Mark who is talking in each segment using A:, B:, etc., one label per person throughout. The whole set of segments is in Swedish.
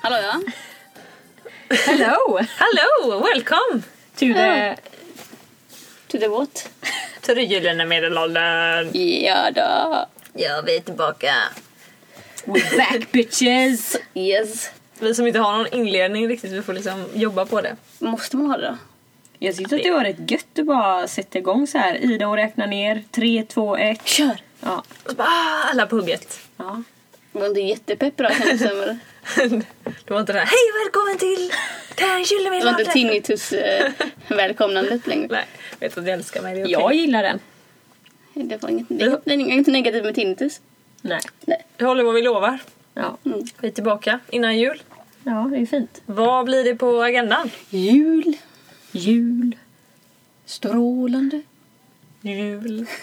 A: Hallå ja.
B: Hello!
C: Hello, welcome
B: To the...
A: To the what?
C: till det gyllene medelåldern.
A: Ja då.
C: Ja, vi är tillbaka.
B: We're back bitches!
A: Yes.
C: Vi som inte har någon inledning riktigt, vi får liksom jobba på det.
A: Måste man ha det då?
B: Jag tyckte att det var rätt gött att bara sätta igång så här. Ida och räkna ner. Tre, två, ett.
A: Kör!
B: Ja.
C: Och så bara, ah, alla på hugget.
B: ja.
A: Var inte jättepepp då kan jag säga. men
C: det var inte det här, hej välkommen till den gyllene
A: Det var
C: medelåldern.
A: inte tinnitus-välkomnandet längre.
C: Nej, vet att du älskar mig. Det är okej.
B: Jag gillar den.
A: Det var inget, det är inget, det är inget negativt med tinnitus.
B: Nej.
A: Nej.
C: Vi håller vad vi lovar.
B: Ja.
A: Mm.
C: Vi är tillbaka innan jul.
B: ja, det är fint.
C: Vad blir det på agendan?
A: Jul.
B: Jul.
A: Strålande.
C: Jul.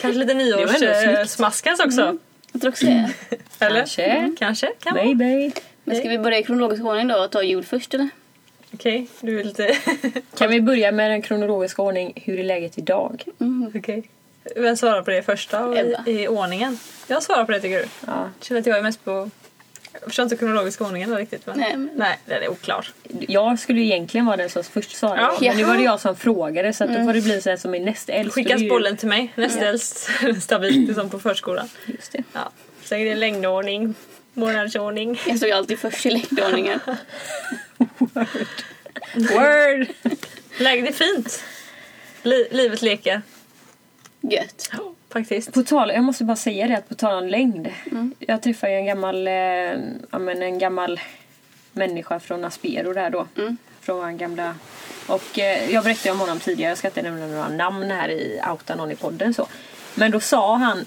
C: Kanske lite
B: Det var ändå snyggt. Mm.
C: nyårssmaskens också.
A: Jag tror också det.
C: Eller? Mm.
B: Kanske.
C: Kanske. Kan vara.
B: Baby.
A: Men ska vi börja i kronologisk ordning då och ta jul först eller?
C: Okej, du är lite...
B: Kan vi börja med den kronologiska ordning. Hur är läget idag?
A: Mm.
C: Okej. Vem svarar på det första och i,
A: Ebba.
C: i ordningen? Jag svarar på det tycker du.
B: Ja.
C: Jag känner att jag är mest på... Jag förstår inte kronologiska ordningen där riktigt. Men...
A: Nej, men-
C: Nej, den är oklar.
B: Jag skulle ju egentligen vara den som först svarade.
C: Ja.
B: Men nu var det jag som frågade så att då får det bli så här som är näst äldst. Och
C: Skickas
B: det är ju-
C: bollen till mig, näst äldst. Stabilt, det är som på förskolan.
B: Just det.
C: Ja. Sen är det längdordning, månadsordning.
A: Jag stod alltid först i längdordningen.
B: Word!
C: Läget är fint. Li- livet leker.
A: Gött.
C: Faktiskt.
B: På tal, jag måste bara säga det, att på tal om längd. Jag träffade ju en gammal, eh, ja, men en gammal människa från Aspero där då. Från vår gamla... Och eh, jag berättade om honom tidigare, jag ska inte nämna några namn här i Outa någon i podden så. Men då sa han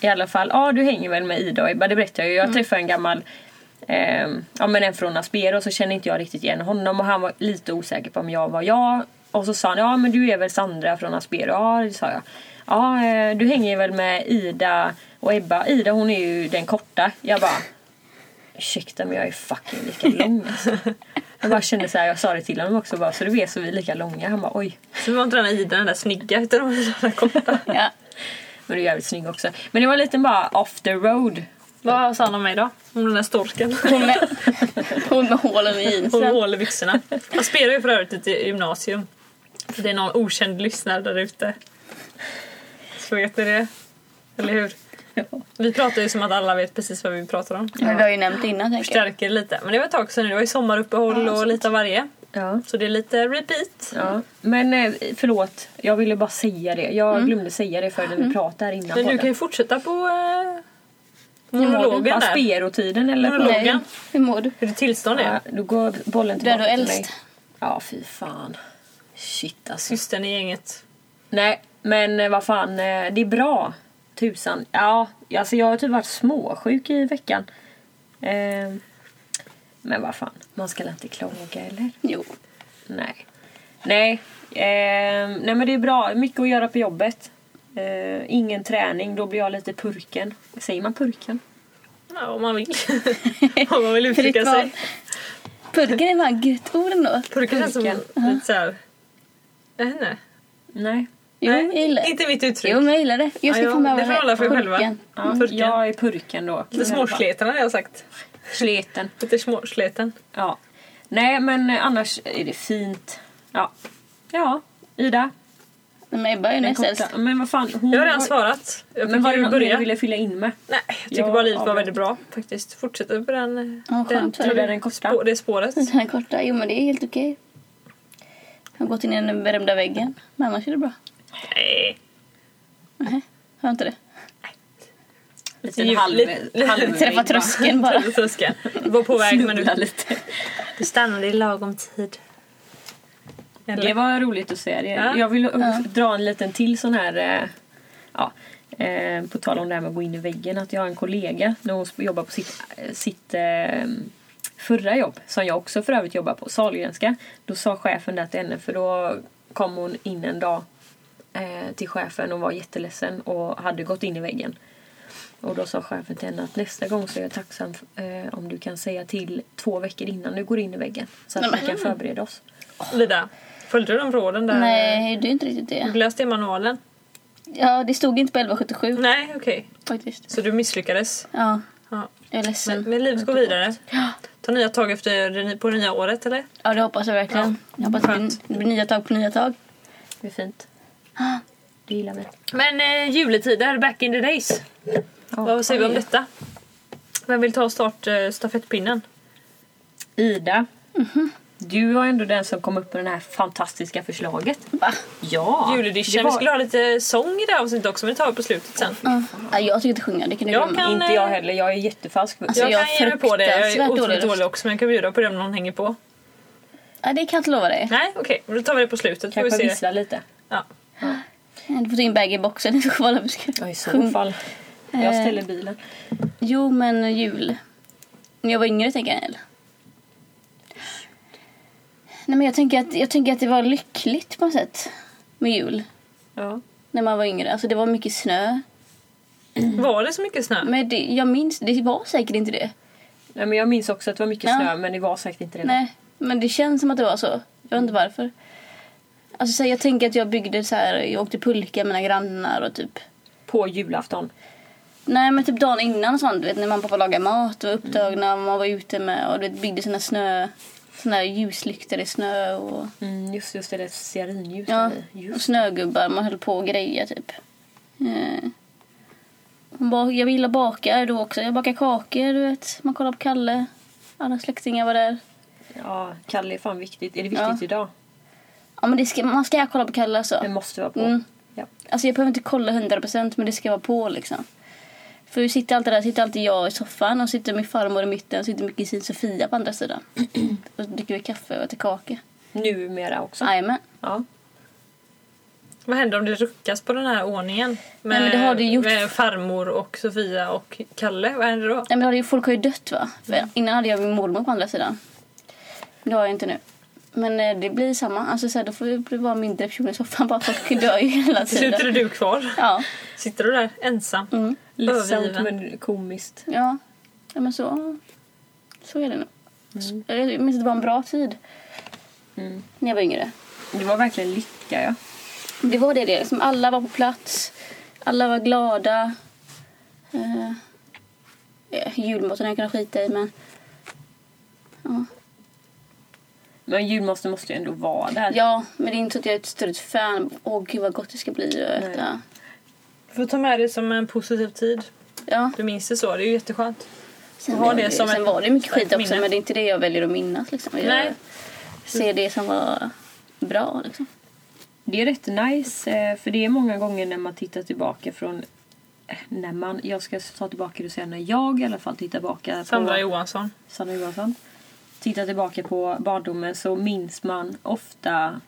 B: i alla fall, ja ah, du hänger väl med Ida och Ebba, det berättade jag ju. Jag träffade en gammal eh, ja men en från Aspero så kände inte jag riktigt igen honom och han var lite osäker på om jag var jag. Och så sa han, ja men du är väl Sandra från Aspero? Ja det sa jag. Ja eh, du hänger väl med Ida och Ebba? Ida hon är ju den korta. Jag bara, ursäkta men jag är fucking lika lång alltså. Jag bara kände så här, jag sa det till honom också bara, så du vet så vi är lika långa. Han bara oj.
C: Så var inte den där Ida, den där snygga, utan de var den där korta.
A: Ja.
B: Men du är jävligt snygg också. Men det var lite bara off the road.
C: Vad sa han om mig då? Om den där storken?
A: Hon med, hon med hålen i
C: Och
A: jeansen.
C: hål i byxorna. Jag spelar ju för övrigt lite i gymnasium. För Det är någon okänd lyssnare där ute. Så vet ni det. Eller hur? Vi pratar ju som att alla vet precis vad vi pratar om.
A: Men vi har ju nämnt det innan tänker jag.
C: Stärker lite. Men det var ett tag sedan nu. Det var ju sommaruppehåll och lite av varje.
B: Ja.
C: Så det är lite repeat.
B: Ja, men eh, förlåt. Jag ville bara säga det. Jag glömde säga det förrän vi pratade här innan.
C: Men du
B: podden.
C: kan ju fortsätta på eh, monologen där.
B: Asperotiden eller?
C: Monolog.
B: Nej.
A: Nej,
C: Frågan.
A: hur mår du?
C: Hur ditt tillstånd
B: Ja,
C: är.
B: då går bollen
A: Död
B: tillbaka
A: och
B: till mig.
A: äldst.
B: Ja, fy fan. Shit alltså.
C: Systern i gänget.
B: Nej, men eh, vad fan. eh, Det är bra. Tusan. Ja, alltså jag har typ varit småsjuk i veckan. Eh, men vad fan. Man ska väl inte klaga eller?
A: Jo.
B: Nej. Nej. Ehm, nej men det är bra. Mycket att göra på jobbet. Eh, ingen träning, då blir jag lite purken. Säger man purken?
C: Ja, om man vill. om man vill
A: Fritt
C: uttrycka
A: val.
C: sig.
A: Purken är bara ett gött ord ändå.
C: Purka känns som
B: Purken.
C: lite såhär... Jag vet inte.
B: Nej.
A: Jo,
C: Nej,
A: jag gillar det.
C: Inte mitt uttryck.
A: Jo, men jag gillar det. Jag ska
C: Ja, ja,
A: komma
C: det får alla för er själva.
B: Ja,
C: Purken.
B: Jag är purken då.
C: Lite småsleten har jag sagt.
B: Sleten.
C: Lite småsleten.
B: Ja. Nej men eh, annars är det fint. Ja. Ja. Ida.
A: Nej, Men Ebba är ju
B: den
A: näst
B: korta.
A: äldst.
B: Men vad fan. Hon
C: Jag
A: Mm,
C: har redan
B: var-
C: svarat. Jag
B: Men
C: tycker
B: var det
C: du
B: något mer du
C: börja.
B: ville fylla in med?
C: Nej, jag tycker
B: Ja,
C: bara livet var
B: avgör.
C: väldigt bra faktiskt. Fortsätter på den,
A: Ja,
C: den,
A: skönt. Eller
B: den korta.
C: spå- det spåret.
A: Den här korta. Jo, men det är helt okej. Jag har gått in i den berömda väggen. Men annars är det bra.
C: Nej.
A: Nej, har jag inte det?
B: Liten
C: Ju-
B: halv...
C: lite-
B: halv
A: Träffa tröskeln bara.
C: Det tröskeln. Du var på väg men du,
B: Snubbla lite.
C: du stannade i lagom tid. Eller?
B: Det var roligt att se. Det.
C: Ja.
B: Jag vill dra en liten till sån här... eh, Ja, eh, på tal om det här med att gå in i väggen. Att jag har en kollega när hon sp- jobbar på sitt, eh, sitt eh, förra jobb, som jag också för övrigt jobbar på, Sahlgrenska. Då sa chefen det till henne, för då kom hon in en dag eh, till chefen och var jätteledsen och hade gått in i väggen. Och då sa chefen till henne att nästa gång så är jag tacksam eh, om du kan säga till två veckor innan du går in i väggen. Så att
A: Nej,
B: vi kan förbereda oss.
C: Lida, följde du de råden där?
A: Nej, det är inte riktigt det.
C: Läste i manualen?
A: Ja, det stod inte på 1177
C: Nej, okej.
A: faktiskt.
C: Så du misslyckades?
A: Ja.
C: Ja.
A: Jag är ledsen.
C: Men, men livet går vidare. Ta nya tag efter det, ny- på det nya året eller?
A: Ja, det hoppas jag verkligen. jag hoppas att det blir, det blir nya tag på nya tag.
B: Det är fint. Det gillar vi.
C: Men eh, juletider, back in the days. Vad säger vi om detta? Vem vill ta och starta eh, stafettpinnen?
B: Ida. Mhm. Du var ändå den som kom upp med det här fantastiska förslaget.
A: Va?
B: Ja!
C: Juledition.
B: det var-
C: Vi skulle ha lite sång i det här avsnittet också men det tar vi på slutet sen.
A: Ja. Nej, jag tycker inte sjunga. Det kan du
C: Jag
A: glömma.
C: kan-
B: Inte jag heller, jag är jättefalsk.
A: Alltså,
C: Jag,
A: jag
C: kan ge mig på det. Jag är
A: fruktansvärt
C: otroligt
A: dålig röst.
C: dålig också men jag kan bjuda på det om någon hänger på.
A: Nej, det kan jag inte lova dig.
C: Nej okej, men då tar vi det på slutet. Får vi
B: Kanske
C: se.
B: vissla lite.
C: Ja.
A: Du får ta in bag boxen i så fall. om du ska-
B: Ja, i så
A: Sjung.
B: fall. Jag
A: Eh.
B: ställer bilen.
A: Jo, men jul. När jag var yngre tänker jag. Eller? Nej, men jag tänker, att, jag tänker att det var lyckligt på något sätt med jul.
B: Ja.
A: När man var yngre. Alltså det var mycket snö.
C: Var det så mycket snö?
A: Men det, jag minns, det var säkert inte det.
B: Nej, men jag minns också att det var mycket
A: Ja.
B: snö men det var säkert inte det.
A: Nej, men det känns som att det var så. Jag vet inte varför. Alltså så här, jag tänker att jag byggde så här, jag åkte pulka med mina grannar och typ.
B: På julafton.
A: Nej men typ dagen innan och sånt, du vet när mamma och pappa lagade mat och var upptagna och man var ute med och du vet, byggde sina snö, såna här ljuslyktor i snö och,
B: Mm, just, just det, det är stearinljus
A: ja,
B: där i.
A: och
B: Just.
A: snögubbar, man höll på och grejer typ. Eh. Hon ba- jag gillar baka då också, jag bakar kakor du vet, man kollar på Kalle, alla släktingar var där.
B: Ja, Kalle är fan viktigt. Är det
A: Ja.
B: viktigt idag?
A: Ja men det ska, man ska kolla på Kalle alltså.
B: Det måste vara på.
A: Mm.
B: Ja.
A: Alltså jag behöver inte kolla 100% men det ska vara på liksom. För vi sitter alltid där, sitter alltid jag i soffan och sitter min farmor i mitten och sitter min kusin Sofia på andra sidan. och så dricker vi kaffe och äter kaka.
B: Numera också.
A: Jajamän.
B: Ja.
C: Vad händer om det ruckas på den här ordningen? Med,
A: men det har det gjort.
C: med farmor och Sofia och Kalle, vad händer då?
A: Nej men det har ju- folk har ju dött va? För innan hade jag min mormor på andra sidan. Men det har jag inte nu. Men eh, det blir samma. Alltså så här, då får det bli bara mindre personer i soffan bara folk dör ju hela
C: Till slut är
A: tiden.
C: det du kvar.
A: Ja.
C: Sitter du där ensam?
A: Mm.
B: Ledsamt
C: Övergiven.
B: men komiskt.
A: Ja. ja men så. Så är det nog. Så- Jag minns att det var en bra tid.
B: Mm.
A: När jag var yngre.
B: Det var verkligen lycka ja.
A: Det var det, det. Liksom alla var på plats. Alla var glada. Eh, eh, julmaten jag kunde skita i, men... Ja.
B: Men julmasten måste ju ändå vara där.
A: ja, men det är inte så att jag är ett större fan. Åh, gud vad gott det ska bli att äta.
C: Du får ta med det som en positiv tid.
A: Ja.
C: Du minns det så, det är ju jätteskönt.
A: Sen,
C: Och ha
A: var
C: det
A: det,
C: som
A: sen
C: ett
A: var det mycket
C: starkt
A: skit också,
C: minne.
A: men det är inte det jag väljer att minnas. Liksom. Jag
C: Nej.
A: ser det som var bra, liksom.
B: Det är rätt nice eh, för det är många gånger när man tittar tillbaka från eh, när man, jag ska ta tillbaka det och säga när jag i alla fall tittar tillbaka
C: Sandra
B: på
C: Johansson.
B: Sanna Johansson. Tittar tillbaka på barndomen så minns man ofta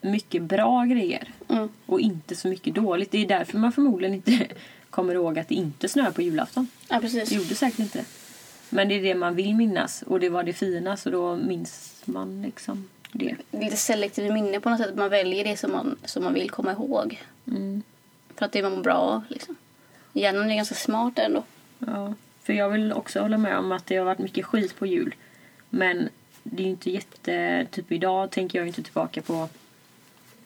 B: mycket bra grejer
A: Mm.
B: och inte så mycket dåligt. Det är därför man förmodligen inte kommer ihåg att det inte snöade på julafton.
A: Ja,
B: Det
A: precis.
B: gjorde säkert inte. Men det är det man vill minnas och det var det fina så då minns man liksom det.
A: Lite selektivt minne på något sätt. Man väljer det som man, som man vill komma ihåg.
B: Mm.
A: För att det man mår bra av. Liksom. Hjärnan är ganska smart ändå.
B: Ja. För jag vill också hålla med om att det har varit mycket skit på jul. Men det är ju inte jätte... Typ idag tänker jag ju inte tillbaka på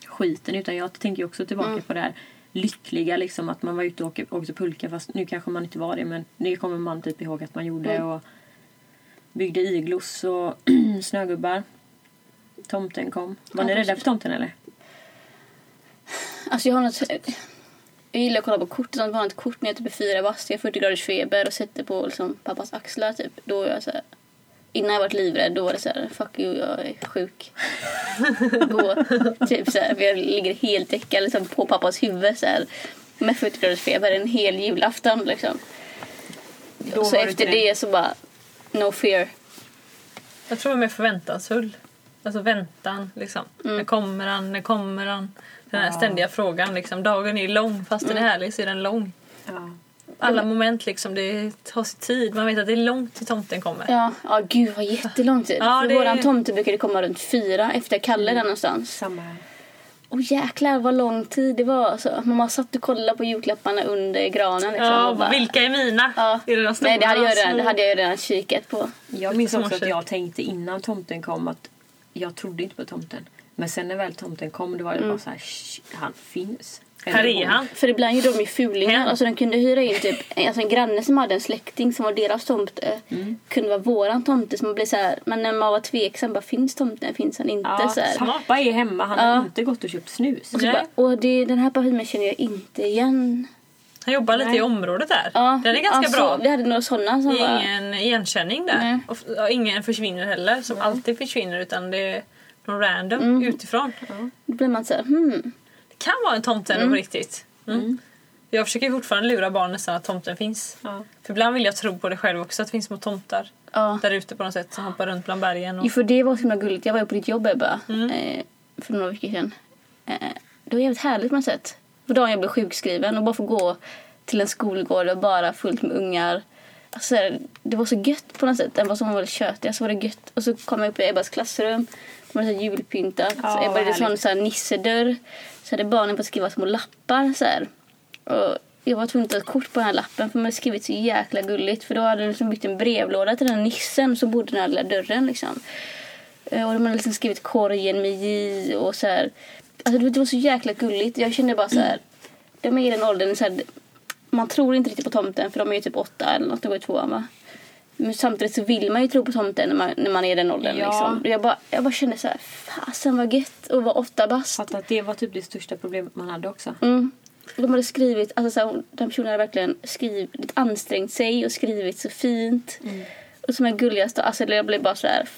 B: skiten utan jag tänker ju också tillbaka på det här lyckliga liksom att man var ute och åkte, åkte pulka fast nu kanske man inte var det men det kommer man typ ihåg att man gjorde
A: Mm.
B: och byggde iglos och snögubbar. Tomten kom. Var
A: Ja,
B: ni rädda
A: precis.
B: för tomten eller?
A: Alltså jag har något... Jag gillar att kolla på kort. och sånt. Jag har ett kort när jag typ är fyra bast, jag har 40 graders feber och sätter på liksom pappas axlar typ. Då är jag så här... Innan jag varit livrädd då var det så här, fuck you, jag är sjuk. Gå. typ så här, för jag ligger helt täckad liksom, på pappas huvud så här. Med 40 graders feber en hel julafton liksom.
B: Då
A: så
B: var typ- du
A: efter
B: inte
A: det.
B: rädd.
A: så bara, no fear.
C: Jag tror jag är mer förväntansfull. Alltså väntan liksom.
A: Mm.
C: När kommer han, när kommer han? Den här ständiga frågan liksom. Dagen är lång, fast
A: Mm.
C: den är härlig så är den lång.
B: Ja.
C: Alla moment liksom, det tar sin tid. Man vet att det är långt till tomten kommer.
A: Ja, ja gud vad jättelång tid.
C: Ja,
A: För
C: det-
A: Våran tomte brukade komma runt fyra efter Kalle där någonstans.
B: Samma här.
A: Åh jäklar vad lång tid det var alltså. Mamma satt och kollade på julklapparna under granen. Liksom,
C: Ja,
A: och bara-
C: vilka är mina?
A: Ja.
C: Är det de stora?
A: Nej, det hade jag,
C: de
A: redan, det
C: små?
A: hade jag redan kikat på.
B: Jag minns
C: Som
B: också att
C: morse.
B: jag tänkte innan tomten kom att jag trodde inte på tomten. Men sen när väl tomten kom det var det bara så här, "Shh, han finns.
C: Här är han.
A: För ibland gjorde de ju fulingar.
C: Hem.
A: Alltså de kunde hyra in typ alltså en granne som hade en släkting som var deras tomte.
C: Mm.
A: Kunde vara våran tomte. Så man blev så här, men när man var tveksam, bara finns tomten, finns han inte?
B: Ja,
A: så här.
B: pappa är hemma, han
A: Ja.
B: har inte gått och köpt snus.
A: Och så
C: Nej.
A: bara, och det, den här parfymen känner jag inte igen.
C: Han jobbar lite
B: Nej.
C: i området där.
A: Ja,
C: Den är ganska
A: ja,
C: bra.
A: Så, vi hade några sådana som
C: Det
A: var...
C: är ingen igenkänning där.
A: Nej.
C: Och, f- ja, ingen försvinner heller, som alltid försvinner. Utan det är någon random utifrån.
A: Då blir man så här, hmm.
C: Det kan vara en tomte ändå på riktigt. Mm. Jag försöker fortfarande lura barn nästan att tomten finns.
B: Ja.
C: För ibland vill jag tro på det själv också, att det finns små tomtar.
A: Ja.
C: Där ute på något sätt som hoppar runt bland bergen. Och...
A: Jo, för det var så himla gulligt. Jag var ju på ditt jobb Ebba, eh, för några veckor sedan. Eh, det var jävligt härligt på något sätt. På dagen jag blev sjukskriven och bara få gå till en skolgård och bara fullt med ungar. Alltså, det var så gött på något sätt. Även vad som var väldigt tjötig så var det gött. Och så kom jag upp i Ebbas klassrum. Det var så här julpyntat.
B: Ja,
A: så Ebba hade en sån
B: härligt.
A: så här nissedörr. Så hade barnen fått skriva små lappar. Så här. Och jag var tvungen att ta ett kort på den här lappen för man hade skrivit så jäkla gulligt. För då hade de liksom byggt en brevlåda till den här nissen som bodde i den här lilla dörren. Liksom. Eh, Och de hade liksom skrivit korgen med J och så här. Alltså det var- det var så jäkla gulligt. Jag kände bara så här. De är i den åldern så här, man tror inte riktigt på tomten för de är ju typ åtta eller något, de går i tvåan va. Men samtidigt så vill man ju tro på tomten när man, när man är i den åldern
B: Ja.
A: liksom. Och Jag bara, jag bara kände så här, fasen vad gött att vara åtta bast.
B: Fattar att det var typ det största problemet man hade också.
A: Mm. De hade skrivit, alltså så här, hon- den personen hade verkligen skrivit, ansträngt sig och skrivit så fint.
C: Mm.
A: Och som är gulligast, alltså jag blev bara så här,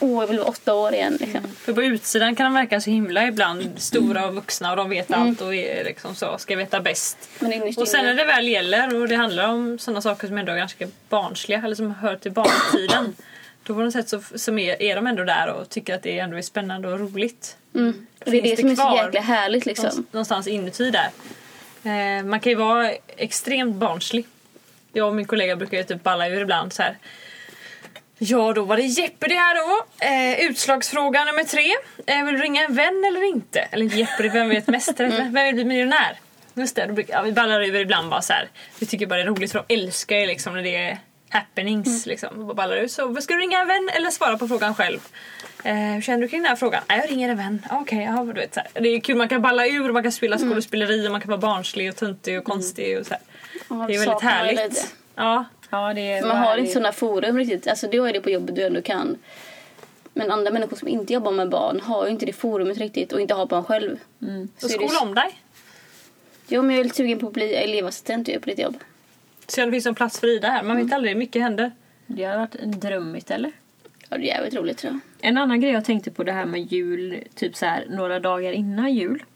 A: åh jag vill vara åtta år igen liksom.
C: För på utsidan kan de verka så himla ibland stora och vuxna och de vet allt och är liksom så, ska veta bäst.
A: Men innerst
C: Och sen
A: inne-
C: när det väl gäller och det handlar om sådana saker som ändå är ganska barnsliga eller som hör till barntiden. Då på något sätt så, som är, är de ändå där och tycker att det ändå är spännande och roligt.
A: Mm. Och det är
C: Finns
A: det,
C: det
A: som är så
C: kvar?
A: jäkla härligt liksom.
C: Någonst- Någonstans inuti där. Eh, man kan ju vara extremt barnslig. Jag och min kollega brukar ju typ balla ur ibland så här. Ja, då var det Jeopardy här då. Eh, utslagsfråga nummer tre. Eh, vill du ringa en vän eller inte? Eller inte Jeopardy, vem vet mest? rätt? Vem vill bli miljonär? Just det, då brukar, ja, vi ballar ur ibland bara så här. Vi tycker bara det är roligt för de älskar ju liksom när det är happenings liksom. Och bara ballar ur. Så ska du ringa en vän eller svara på frågan själv? Eh, hur känner du kring den här frågan? "Nej, jag ringer en vän. Ah, Okej, ja, du vet så här. Det är kul, man kan balla ur, man kan spela skådespeleri och man kan vara barnslig och töntig och konstig och så här.
A: Ja,
C: Det är väldigt
A: saknar man lite.
C: härligt. Ja,
B: Ja, det
A: Man
B: var
A: har
B: härligt.
A: inte sådana forum riktigt. Alltså du har ju det på jobbet du ändå kan. Men andra människor som inte jobbar med barn har ju inte det forumet riktigt och inte har barn själv.
C: så
A: är det
C: skola
A: ju-
C: om dig.
A: Jo men jag är lite sugen på att bli elevassistent ju på ditt jobb.
C: Så det finns en plats för Ida här. Man vet aldrig, mycket händer.
B: Det hade varit en dröm istället.
A: Ja det är jävligt roligt tror jag.
B: En annan grej jag tänkte på det här med jul, typ så här några dagar innan jul.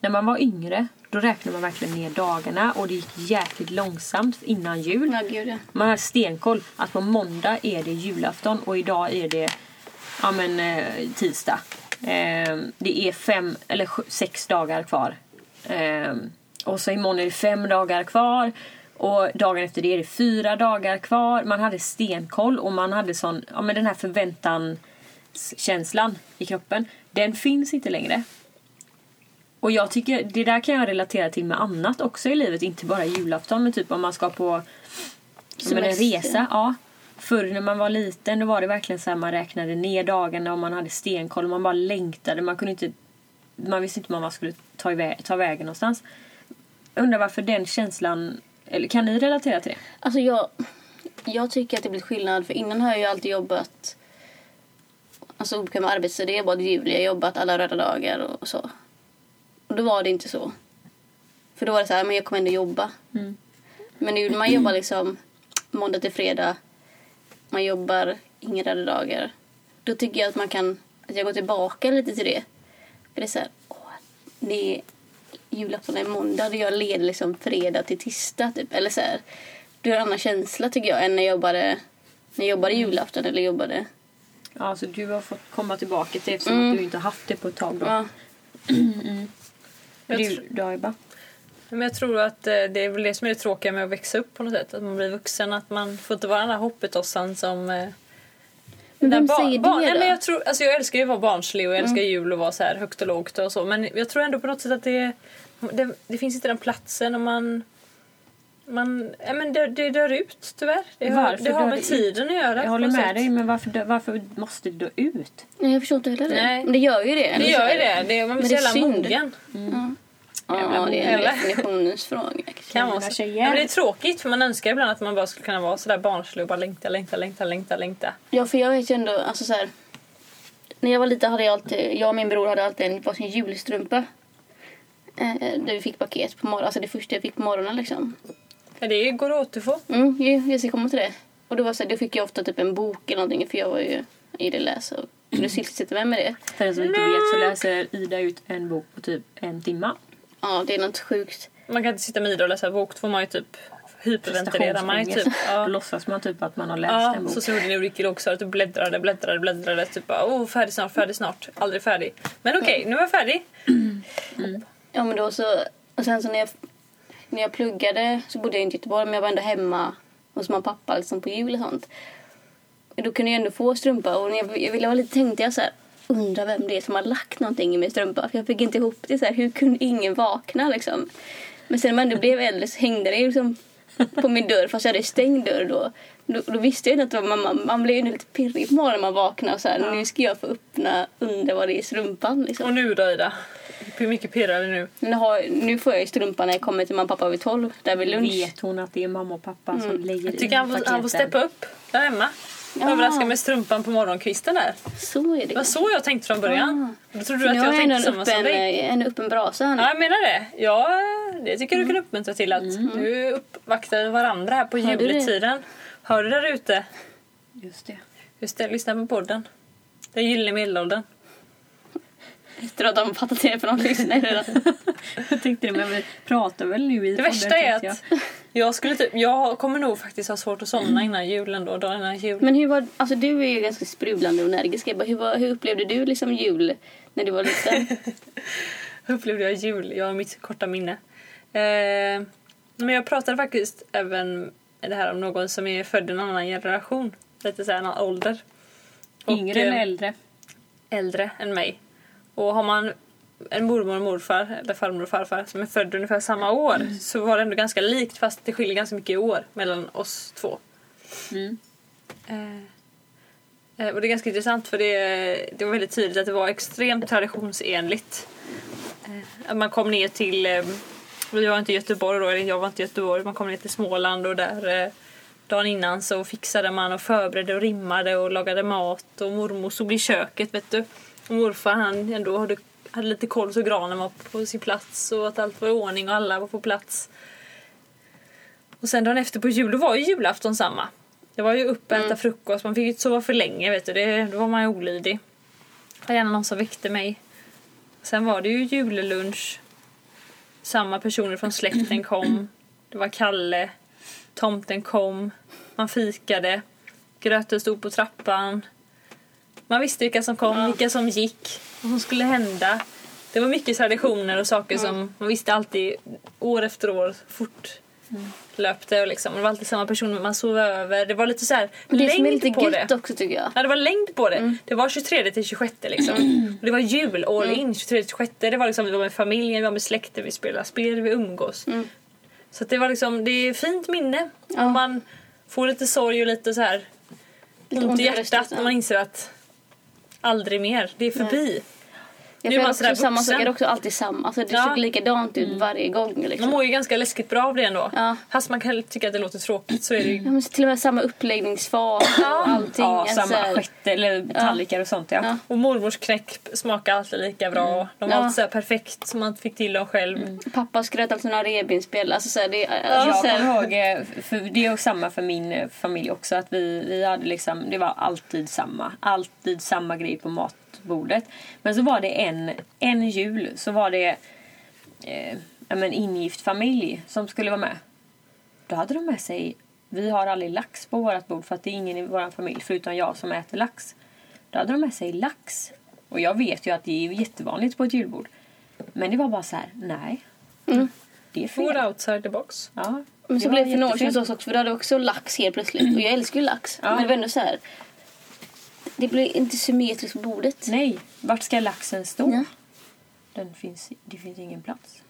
B: När man var yngre, då räknade man verkligen ner dagarna och det gick jäkligt långsamt innan jul.
A: Ja gud ja.
B: Man har stenkoll att på måndag är det julafton och idag är det ja, men, eh, tisdag. Eh, det är fem eller sju, sex dagar kvar. Eh, och så imorgon är det fem dagar kvar. Och dagen efter det är det fyra dagar kvar. Man hade stenkoll och man hade sån, ja, men den här förväntanskänslan i kroppen. Den finns inte längre. Och jag tycker, det där kan jag relatera till med annat också i livet. Inte bara julafton men typ om man ska på som en
A: Semester.
B: resa, ja. Förr när man var liten då var det verkligen så här man räknade ner dagarna och man hade stenkoll och man bara längtade. Man kunde inte... Man visste inte man var skulle ta, iväg, ta vägen någonstans. Jag undrar varför den känslan... Eller kan ni relatera till det?
A: Alltså jag, jag tycker att det blir skillnad för innan har jag ju alltid jobbat alltså obekväma arbetstider. Jag har jobbat jul, jag har jobbat alla röda dagar och, och så. Och då var det inte så. För då var det så här, men jag kommer ändå jobba. Men nu man jobbar liksom måndag till fredag. Man jobbar inga röda dagar. Då tycker jag att man kan, att jag går tillbaka lite till det. För det är så här, åh, det är julafton är måndag och jag leder liksom fredag till tisdag typ. Eller så här, det är en annan känsla tycker jag än när jag jobbade, när jag jobbade julafton eller jobbade.
B: Ja, så du har fått komma tillbaka till det eftersom
A: Mm.
B: du inte har haft det på ett tag då.
A: Ja.
C: Jag
B: Du
C: tror-
B: då Ebba?
C: Men jag tror att eh, det är väl det som är det tråkiga med att växa upp på något sätt. Att man blir vuxen, att man får inte vara den där hoppetossan som... eh,
A: Men
C: där
A: vem
C: barn-
A: säger det
C: barn-
A: då?
C: Nej, men jag, tror, alltså jag älskar ju att vara barnslig och jag älskar jul och vara så här högt och lågt och så. Men jag tror ändå på något sätt att det, det, det finns inte den platsen och man... man ja, men det, det dör ut tyvärr. Det har,
B: Varför
C: det har
B: dör
C: med
B: det ut?
C: tiden att göra.
B: Jag
C: på
B: håller
C: något
B: med
C: sätt.
B: dig, men varför, varför måste du då ut?
A: Nej, jag förstår inte heller det.
C: Nej.
A: Men det gör ju det.
C: Det
A: eller så
C: gör
A: är
C: ju det. det man
A: Men det
C: blir så
A: är
C: jävla
A: synd.
C: mogen.
A: Ja. Ja, det är en
C: Eller?
A: definitionsfråga.
C: Kan vara
B: Mina
C: så.
B: tjejer.
C: Ja, men det är tråkigt för man önskar ibland att man bara skulle kunna vara sådär barnslig och bara längta, längta, längta, längta, längta.
A: Ja, för jag vet ju ändå, alltså så här, När jag var liten hade jag alltid, jag och min bror hade alltid en varsin julstrumpa. Eh, där vi fick paket på morgonen, alltså det första jag fick på morgonen liksom.
C: Men det går att återfå.
A: Mm, ju, jag ska komma till det. Och då, var det så här, då fick jag ofta typ en bok eller någonting för jag var ju, gillade att läsa och kunde sysselsätta mig med det.
B: För den som inte vet så läser Ida ut en bok på typ en timma.
A: Ja, det är något sjukt.
C: Man kan inte sitta med Ida och läsa bok, då får man ju typ hyperventilera man ju typ.
B: Prestationsångest. Då
C: Ja.
B: låtsas man typ att man har läst
C: Ja,
B: en bok.
C: så som gjorde Ulrika i också att du bläddrade, bläddrade, bläddrade. Typ bara, oh, färdig snart, färdig snart. Aldrig färdig. Men okej, nu är jag färdig.
A: Ja, men då så... Och sen så när jag, när jag pluggade så bodde jag inte i Göteborg men jag var ändå hemma hos mamma och pappa liksom på jul och sånt. Då kunde jag ändå få strumpa och när jag, jag ville vara lite tänkte jag så här undrar vem det är som har lagt någonting i min strumpa för jag fick inte ihop det så här hur kunde ingen vakna liksom. Men sen när man ändå blev äldre så hängde det ju liksom på min dörr fast jag hade stängd dörr då. Då, då visste jag ju inte att det var mamma. Man blev ju lite pirrig på morgonen när man vaknade och så här nu ska jag få öppna undra vad det är i strumpan liksom.
C: Och nu då Ida? Hur mycket pirrar det nu?
A: Nu, har, nu får jag ju strumpan när jag kommer till mamma och pappa vid tolv, där vid lunch.
B: Vet hon att det är mamma och pappa som lägger
C: Mm. Jag tycker han får, han får steppa upp där hemma.
A: Ja.
C: Överraska med strumpan på morgonkvisten där.
A: Så är det.
C: Det var så jag tänkte från början. Då trodde du
A: Nu
C: att jag
A: har jag ändå
C: tänkte
A: en öppen,
C: samma
A: eh,
C: som dig.
A: en öppen brasa här nu.
C: Ja, jag menar det. Ja, det tycker du kan uppmuntra till att nu uppvaktar vi varandra här på
A: Mm. Hör du det?
C: juletiden. Hör du där ute?
B: Just det.
C: Just det, lyssna på podden. Den gyllene medelåldern.
A: Efter att de fattat det för de lyssnar redan.
B: Jag tänkte det, men vi pratar väl nu i
C: Det
B: podden,
C: värsta är
B: tänkte
C: att jag, skulle typ, jag kommer nog faktiskt ha svårt att somna innan julen då, dagen innan jul.
A: Men hur var, alltså du är ju ganska sprudlande och energisk. Jag bara, Hur, var, hur upplevde du liksom jul när du var liten?
C: Hur upplevde jag jul? Jag har mitt korta minne. Eh, men jag pratade faktiskt även det här om någon som är född i en annan generation. Lite så här, en annan ålder. Och,
B: jag. Yngre eller
C: eh,
B: äldre?
C: äldre än mig. Och har man en mormor och morfar, eller farmor och farfar, som är född ungefär samma år så var det ändå ganska likt fast det skiljer ganska mycket i år mellan oss två.
B: Mm.
C: Eh, eh, och det är ganska intressant för det, det var väldigt tydligt att det var extremt traditionsenligt. Eh, att man kom ner till, eh, vi var inte i Göteborg då, eller jag var inte i Göteborg, man kom ner till Småland och där eh, dagen innan så fixade man och förberedde och rimmade och lagade mat och mormor stod i köket vet du. Och morfar han ändå hade, hade lite koll så granen var på sin plats och att allt var i ordning och alla var på plats. Och sen dagen efter på jul, då var ju julafton samma. Det var ju upp och äta frukost, man fick ju inte sova för länge vet du. Det, då var man ju olydig. Det var gärna någon som väckte mig. Sen var det ju julelunch. Samma personer från släkten kom. Det var Kalle. Tomten kom. Man fikade. Gröten stod på trappan. Man visste vilka som kom, vilka som gick, vad som skulle hända. Det var mycket traditioner och saker som man visste alltid år efter år fort
A: Mm.
C: löpte och liksom. Och Det var alltid samma personer man sov över. Det var lite så här
A: Det som är
C: längd
A: lite
C: på det.
A: gött också tycker jag.
C: Ja, det var längd på det.
A: Mm.
C: Det var 23 till 26 liksom. Och det var jul all
A: Mm.
C: in 23 till 26. Det var liksom, vi var med familjen, vi var med släkten, vi spelade spel, vi umgås. Så att det var liksom, det är fint minne.
A: Mm. Ja.
C: Och man får lite sorg och lite så här ont i hjärtat när man inser att aldrig mer, det är förbi.
A: Jag
C: Nu är man
A: får
C: sådär
A: också samma
C: vuxen.
A: sak, jag är också alltid samma. Alltså det
C: Ja.
A: såg likadant ut varje gång
C: Man
A: liksom.
C: mår ju ganska läskigt bra av det ändå.
A: Ja.
C: Fast man kan tycka att det låter tråkigt så är det ju...
A: Ja, men så till och med samma uppläggningsfas och allting.
B: Ja,
A: Alltså,
B: samma sjätte eller tallrikar och sånt ja.
A: Ja.
C: Och mormors knäck smakar alltid lika bra. De var
A: Mm. Ja. Mm.
C: alltid så här perfekt som man fick till dem själv.
A: Pappa skröt alltid om några revbensspjäll. Alltså, så här, det,
B: Jag
A: alltså, så här-
B: kommer ihåg, eh, för det är ju samma för min eh, familj också, att vi, vi hade liksom, det var alltid samma. Alltid samma grej på matbordet. Men så var det en, en jul, så var det eh, ja, men ingift familj som skulle vara med. Då hade de med sig, vi har aldrig lax på vårt bord för att det är ingen i vår familj förutom jag som äter lax. Då hade de med sig lax. Och jag vet ju att det är jättevanligt på ett julbord. Men det var bara så här, nej. Det är fel.
C: Food outside the box.
B: Ja,
A: Men så blev
B: det var
A: det för några år sedan
B: jättefint. Mm.
A: hos oss också för då hade vi också lax helt plötsligt. Och jag älskar ju lax.
B: Ja.
A: Men det var ändå så här. Det blev inte symmetriskt på bordet.
B: Nej, vart ska laxen stå?
A: Ja.
B: Den finns, det finns ingen plats.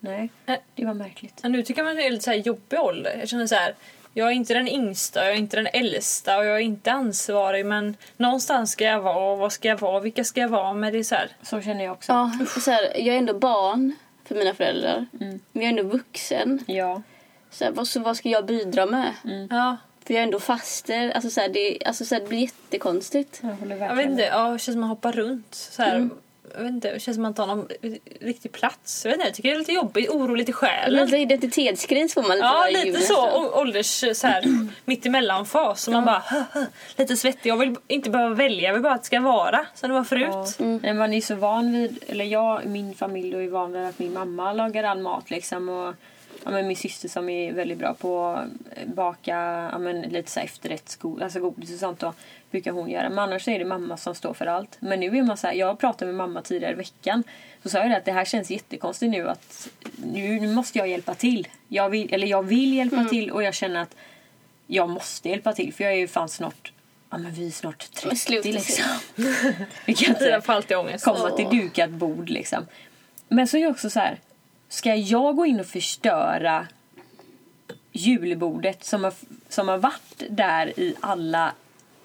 B: Nej,
C: Äh.
B: det var märkligt.
C: Ja, nu tycker man det är lite så här jobbig ålder. Jag känner så här, jag är inte den yngsta, jag är inte den äldsta och jag är inte ansvarig men någonstans ska jag vara och vad ska jag vara, vilka ska jag vara med? Det är så här,
B: Så känner jag också.
A: Ja, och så här, jag är ändå barn. för mina föräldrar.
B: Mm.
A: Men jag är ändå vuxen.
B: Ja.
A: Så här, vad, så vad ska jag bidra med?
C: Ja,
A: För jag är ändå faster. Alltså, så här, det, alltså, så här, det blir jättekonstigt.
B: Jag håller
C: jag vet
B: verkligen
C: inte.
B: med.
C: Ja, det känns som att man hoppar runt. Så här. Jag vet inte, det känns som att man inte har någon riktig plats. Jag, vet inte, jag tycker det är lite jobbigt. Oroligt i själen.
A: Lite identitetskris får man lite
C: Ja,
A: varje jul
C: lite så.
A: nästan.
C: å- Ålders så här, mittemellanfas. Och man bara "Hö, hö", lite svettig. Jag vill inte behöva välja. Jag vill bara att det ska vara som det var
B: Ja.
C: förut.
A: Mm.
B: Men man är ju så van vid, eller jag min familj då är van vid att min mamma lagar all mat liksom. Och, ja, men min syster som är väldigt bra på att baka ja, men lite så här efterrättsgodis alltså godis och sånt då, brukar hon göra. Men annars är det mamma som står för allt. Men nu är man så här, jag pratade med mamma tidigare i veckan. Så sa jag det att det här känns jättekonstigt nu att nu, nu måste jag hjälpa till. Jag vill, eller jag vill hjälpa till och jag känner att jag måste hjälpa till för jag är ju fan snart, ja men vi är snart 30
A: Men sluta
B: liksom. Vi kan inte-
C: Tiden får alltid ångest.
B: komma till dukat bord liksom. Men så är jag också så här. Ska jag gå in och förstöra julbordet som har, som har varit där i alla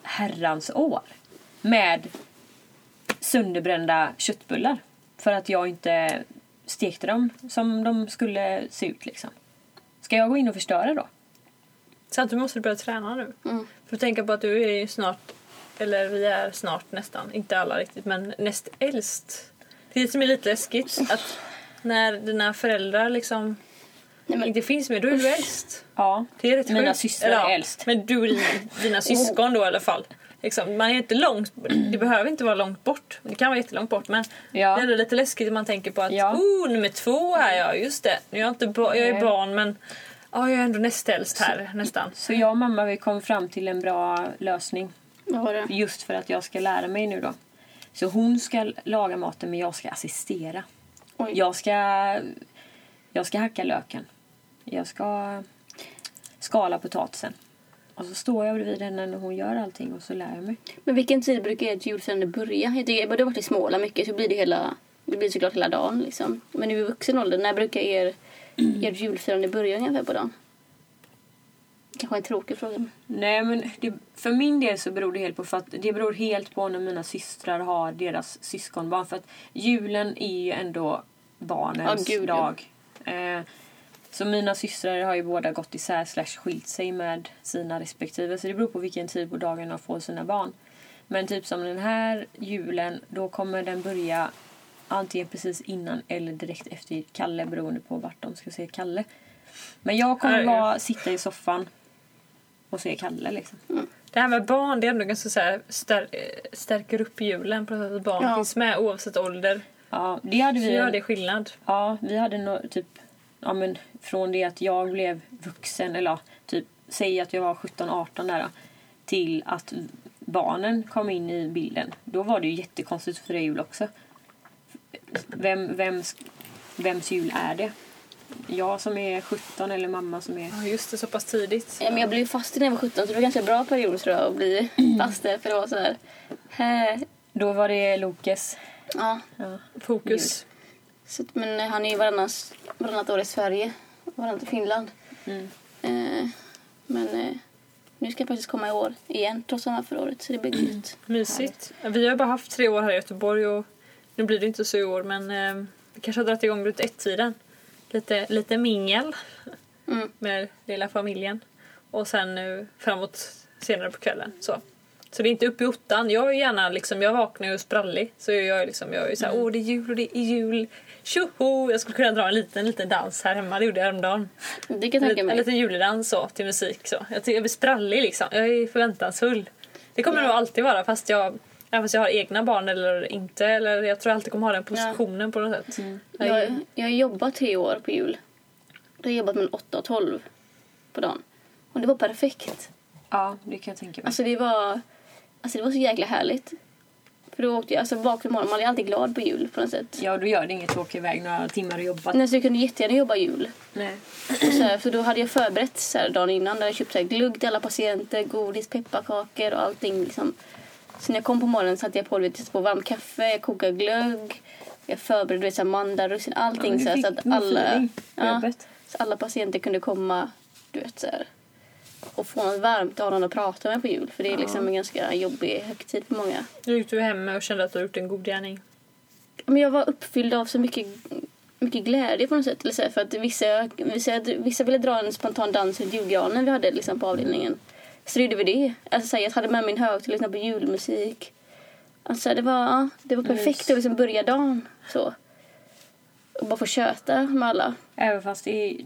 B: herrans år? Med sönderbrända köttbullar. För att jag inte stekte dem som de skulle se ut liksom. Ska jag gå in och förstöra då?
C: Samtidigt måste du börja träna nu.
A: Mm.
C: För att tänka på att du är ju snart, eller vi är snart nästan, inte alla riktigt, men näst äldst. Det är det som är lite läskigt att när dina föräldrar liksom
A: Nej, men-
C: inte finns mer, då är du äldst.
B: Ja.
C: Det är rätt
B: Mina
C: sjukt.
B: systrar
C: Eller
B: är
C: ja,
B: äldst. Oh.
C: Men du och din- dina syskon då i alla fall. Liksom, man är inte långt, det behöver inte vara långt bort. Det kan vara jättelångt bort men
B: Ja.
C: det är ändå lite läskigt om man tänker på att
B: Ja.
C: oh, nummer två här ja, just det. Nu är jag, inte ba- jag är
B: Nej.
C: barn men ja, jag är ändå näst äldst här nästan.
B: Så jag och mamma vi kom fram till en bra lösning.
A: Vad var det?
B: Just för att jag ska lära mig nu då. Så hon ska laga maten men jag ska assistera.
A: Oj.
B: Jag ska, jag ska hacka löken. Jag ska skala potatisen. Och så står jag bredvid henne när hon gör allting och så lär jag mig.
A: Men vilken tid brukar ert julfirande börja? Jag tycker, bara du har varit i Småland mycket så blir det hela, det blir såklart hela dagen liksom. Men nu i vuxen ålder, när brukar er, er julfirande börja ungefär på dagen? Kanske en tråkig fråga. men-
B: Nej men det, för min del så beror det helt på för att det beror helt på när mina systrar har deras syskonbarn. För att julen är ju ändå barnens
A: Ja, gud, ja.
B: dag. Eh, så mina systrar har ju båda gått isär slash skilt sig med sina respektive. Så det beror på vilken tid på dagen de får sina barn. Men typ som den här julen, då kommer den börja antingen precis innan eller direkt efter Kalle beroende på vart de ska se Kalle. Men jag kommer
C: Aj.
B: vara, sitta i soffan och se Kalle liksom.
C: Det här med barn det är ändå ganska så här, stär, eh, stärker upp julen på något sätt att barn
A: Ja.
C: finns med oavsett ålder.
B: Ja, det hade
C: Så
B: vi.
C: gör det skillnad.
B: Ja, vi hade no, typ ja, men från det att jag blev vuxen eller ja, typ säg att jag var 17, 18 där då, till att barnen kom in i bilden. Då var det ju jättekonstigt för jul också. Vem, vems, vems jul är det? Jag som är 17 eller mamma som är...
C: Ja, just det, så pass tidigt.
A: Ja, men jag blev ju fast när jag var 17 så det var en ganska bra period tror jag att bli fast där för det var så här. eh,
B: Då var det Lokes.
A: Ja,
B: Ja.
C: Fokus.
A: så, att- men eh, han är ju varannans, varannat år i Sverige och varannat i Finland.
B: Mm.
A: Eh, men eh, nu ska jag faktiskt komma i år igen trots att han var förra året så det blir grymt.
C: Mysigt. Vi har bara haft tre år här i Göteborg och nu blir det inte så i år men eh, vi kanske har dragit igång runt ett-tiden. Lite, lite mingel
A: Mm.
C: med lilla familjen och sen nu framåt senare på kvällen. Så. Så det är inte upp i ottan. Jag är gärna liksom, jag vaknar ju och är sprallig. Så jag är liksom, jag är såhär,
A: Mm.
C: åh det är jul och det är jul. Tjoho! Jag skulle kunna dra en liten, liten dans här hemma. Det gjorde jag häromdagen.
A: Det kan jag
C: En,
A: tänka
C: lit- en
A: mig.
C: liten juledans så, till musik. Så. Jag, tycker jag blir sprallig liksom. Jag är förväntansfull. Det kommer nog alltid vara fast jag, även fast jag har egna barn eller inte. Eller jag tror jag alltid kommer ha den positionen på något sätt.
A: Mm.
C: Jag är-
A: Jag, jag har jobbat tre år på jul. Då har jag jobbat mellan 8 och 12 på dagen. Och det var perfekt.
B: Ja, det kan jag tänka mig.
A: Alltså det var, alltså det var så jäkla härligt. För då åkte jag, alltså vaknade på morgonen, man är alltid glad på jul på något sätt.
B: Ja, då gör det inget att åka iväg några timmar och jobba.
A: Nej, så jag kunde jättegärna jobba jul.
B: Nej.
A: Och Så här, för då hade jag förberett så här dagen innan. Där hade jag köpt så här glugg till alla patienter, godis, pepparkakor och allting. Liksom. Så när jag kom på morgonen satte jag på, du vet, jag satte på varmt kaffe, jag kokade glögg. Jag förberedde du vet, så här mandlar, russin, allting.
B: Ja, du
A: så, här, så
B: fick
A: att
B: en
A: alla,
B: feeling på
A: ja,
B: jobbet.
A: så alla patienter kunde komma du vet, så här, och få något varmt och ha någon att prata med på jul. För det är liksom en ganska jobbig högtid för många.
C: Nu gick du hem och kände att du har gjort en god gärning.
A: Men jag var uppfylld av så mycket mycket glädje på något sätt. Eller så här, för att vissa, vissa, vissa ville dra en spontan dans runt julgranen vi hade liksom, på avdelningen. Så då gjorde vi det. Alltså, så här, jag hade med min högtalare och lyssnade på julmusik. Alltså, det, var, ja, det var perfekt att liksom börja dagen så. Och bara få köta med alla.
B: Även fast det är,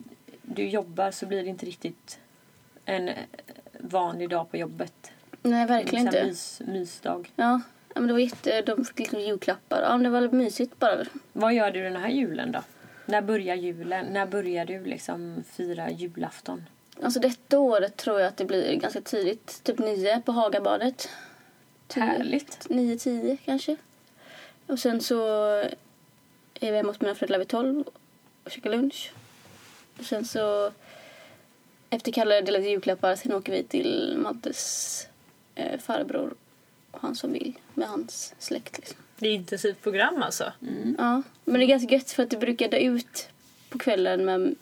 B: du jobbar så blir det inte riktigt en vanlig dag på jobbet.
A: Nej, verkligen
B: det är en
A: inte.
B: mys, mysdag.
A: Ja, ja, men det var jätte... De fick liksom julklappar. Ja, men det var väldigt mysigt bara.
B: Vad gör du den här julen då? När börjar julen? När börjar du liksom fira julafton?
A: Alltså detta året tror jag att det blir ganska tidigt. Typ nio på Hagabadet. Tio.
B: Härligt.
A: Nio, tio kanske. Och sen så är vi hemma hos mina föräldrar vid tolv och käkar lunch. Och sen så efter Kalle delade julklappar sen åker vi till Mattes eh, farbror och hans familj med hans släkt liksom.
C: Det är intensivt program alltså.
B: Mm.
A: Ja, men det är ganska gött för att det brukar dö ut på kvällen med,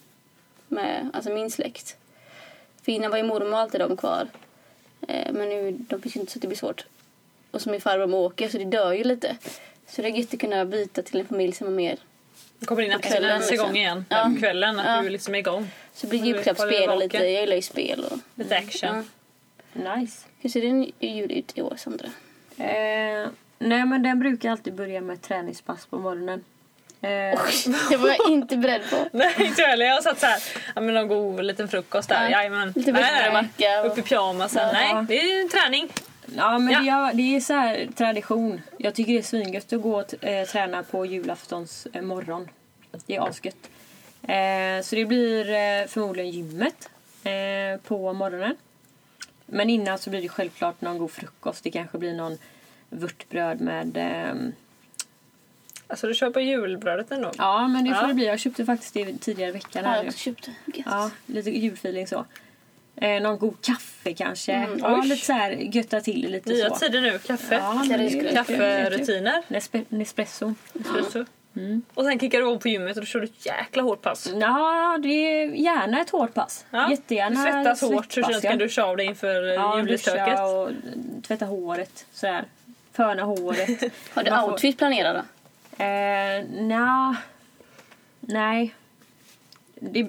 A: med alltså min släkt. För innan var ju mormor och alltid de kvar. Eh, men nu de finns ju inte så det blir svårt. Och så min farbror med åker så det dör ju lite. Så det är gött att kunna byta till en familj som är mer...
C: Kommer in att
A: På kvällen,
C: kvällen sätts igång
A: liksom.
C: igen.
A: Ja.
C: På kvällen, att
A: Ja.
C: du liksom är igång.
A: Så blir
C: Mm,
A: julklappsspel och
C: håller
A: lite...
C: vaken.
A: Jag gillar ju spel och...
C: Lite action.
A: Mm. Ja.
B: Nice.
A: Hur ser din jul ut i år, Sandra?
B: Eh, nej men den brukar alltid börja med träningspass på morgonen. Eh,
A: Det var jag inte beredd på.
C: Nej, inte jag heller. Jag satt såhär, ja men någon god liten frukost där.
A: Ja.
C: Jajamän.
A: Lite
C: Nej, nej.
A: bustermacka och-
C: Upp i pyjamasen.
B: Ja.
C: Nej, det är ju träning.
B: Ja men
C: Ja.
B: Det, gör- det är så här tradition. Jag tycker det är svingött att gå och eh, träna på julaftons eh, morgon. Det är asgött. Eh, så det blir eh, förmodligen gymmet eh, på morgonen. Men innan så blir det självklart någon god frukost. Det kanske blir någon vörtbröd med... ehm,
C: Alltså du kör på julbrödet ändå.
B: ja men det får
C: Ja.
B: det bli. Jag köpte faktiskt det tidigare i veckan.
A: Jag
B: här
A: har
B: nu.
A: också köpt. Gött.
B: Ja, lite julfeeling så. Eh, någon god kaffe kanske.
A: Mm,
B: ja,
C: oj.
B: lite så här götta till det lite
C: Nya
B: så.
C: tider nu. Kaffe.
B: Ja, men
A: det är
C: Kafferutiner.
B: Nespe- Nespresso.
C: Espresso.
B: Mm.
C: Och sen kickar du igång på gymmet och då kör du ett jäkla hårt pass.
B: Ja, det är gärna ett hårt pass.
C: Ja.
B: Jättegärna
C: du svettas hårt. Hur
B: svettpass,
C: känns det?
B: ja.
C: Kan du duscha av dig inför eh, ja,
B: Ja,
C: julestöket?
B: duscha och tvätta håret. Sådär. Föna håret.
A: Har du
B: Man får-
A: outfit planerad då?
B: Eh, nja. Nej. Det,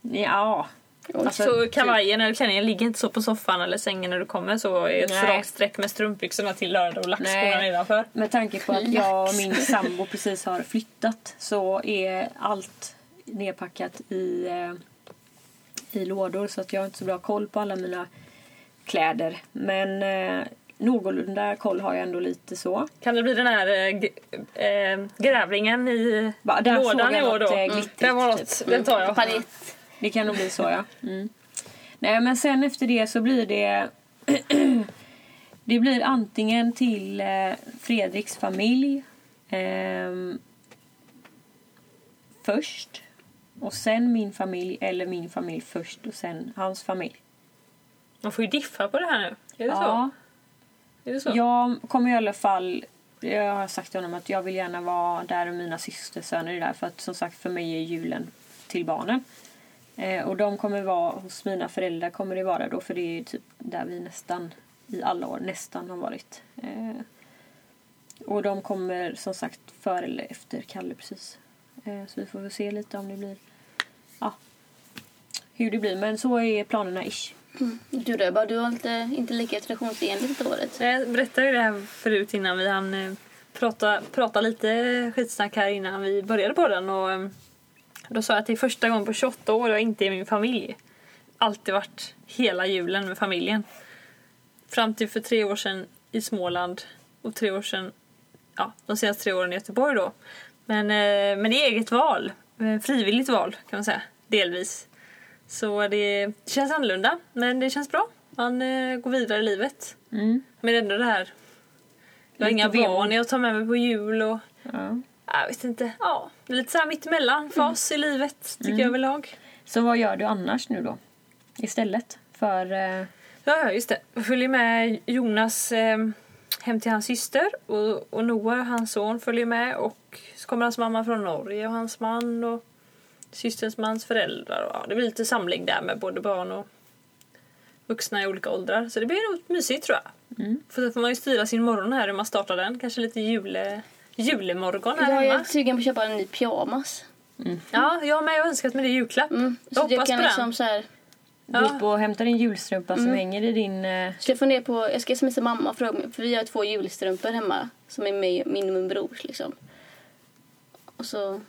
B: ja. Alltså,
C: så kavajen eller klänningen ligger inte så på soffan eller sängen när du kommer så är ett
B: Nej.
C: rakt streck med strumpbyxorna till lördag och lackskorna
B: Nej.
C: nedanför.
B: Med tanke på att jag och min sambo precis har flyttat så är allt nedpackat i, eh, i lådor så att jag har inte så bra koll på alla mina kläder. Men eh, någorlunda koll har jag ändå lite så.
C: Kan det bli den här eh, g- eh, grävlingen i
B: Va, där såg
C: lådan
B: jag
C: i år
B: något,
C: då?
B: eh,
C: Mm.
B: glittrigt, Mm.
C: Den var något, den tar jag.
A: Paljett.
B: Det kan nog bli så ja. Mm. Nej men sen efter det så blir det Det blir antingen till eh, Fredriks familj ehm, först och sen min familj eller min familj först och sen hans familj.
C: Man får ju diffa på det här nu. Är det
B: Ja,
C: så? Är det så?
B: jag kommer i alla fall jag har sagt till honom att jag vill gärna vara där och mina systersöner är där för att som sagt för mig är julen till barnen. Eh, och de kommer vara hos mina föräldrar kommer det vara då för det är ju typ där vi nästan i alla år nästan har varit. Eh, och de kommer som sagt före eller efter Kalle precis. Eh, så vi får väl se lite om det blir ja, hur det blir men så är planerna ish.
A: Mm. Du Röba, du har inte, inte lika traditionsenligt detta året.
C: Nej, Jag berättade ju det här förut innan vi hann eh, prata, prata lite skitsnack här innan vi började på den. Och eh, då sa jag att det är första gången på 28 år jag inte är i min familj. Alltid varit hela julen med familjen. Fram till för tre år sedan i Småland och tre år sedan, ja de senaste tre åren i Göteborg då. Men, eh, men det är eget val. Eh, Frivilligt val kan man säga, delvis. Så det, det känns annorlunda, men det känns bra. Man eh, går vidare i livet.
B: Mm.
C: Men ändå det här. Jag har
B: Lite
C: inga
B: vemod.
C: barn jag tar med mig på jul och
B: Ja.
C: jag vet inte. Ja, det är lite så här mittemellan fas i livet tycker jag överlag.
B: Så vad gör du annars nu då? Istället för... Eh,
C: Ja, ja, just det. Jag följer med Jonas eh, hem till hans syster och, och Noah, hans son, följer med och så kommer hans mamma från Norge och hans man och systerns mans föräldrar. Och, ja, det blir lite samling där med både barn och vuxna i olika åldrar. Så det blir nog mysigt tror jag.
A: Mm.
C: För då får man ju styra sin morgon här hur man startar den. Kanske lite jule, julemorgon här
A: Jag
C: hemma.
A: är sugen på att köpa en ny pyjamas.
C: Ja, jag med. Jag har önskat mig det i julklapp.
A: Mm.
C: Jag
A: Så att jag
C: hoppas på
A: kan
C: den.
A: liksom så här...
B: Gå upp och hämta din julstrumpa som hänger i din... eh,
A: Så jag funderar på, jag ska smsa mamma och fråga, mig- för vi har två julstrumpor hemma som är med min och min brors liksom. Och så,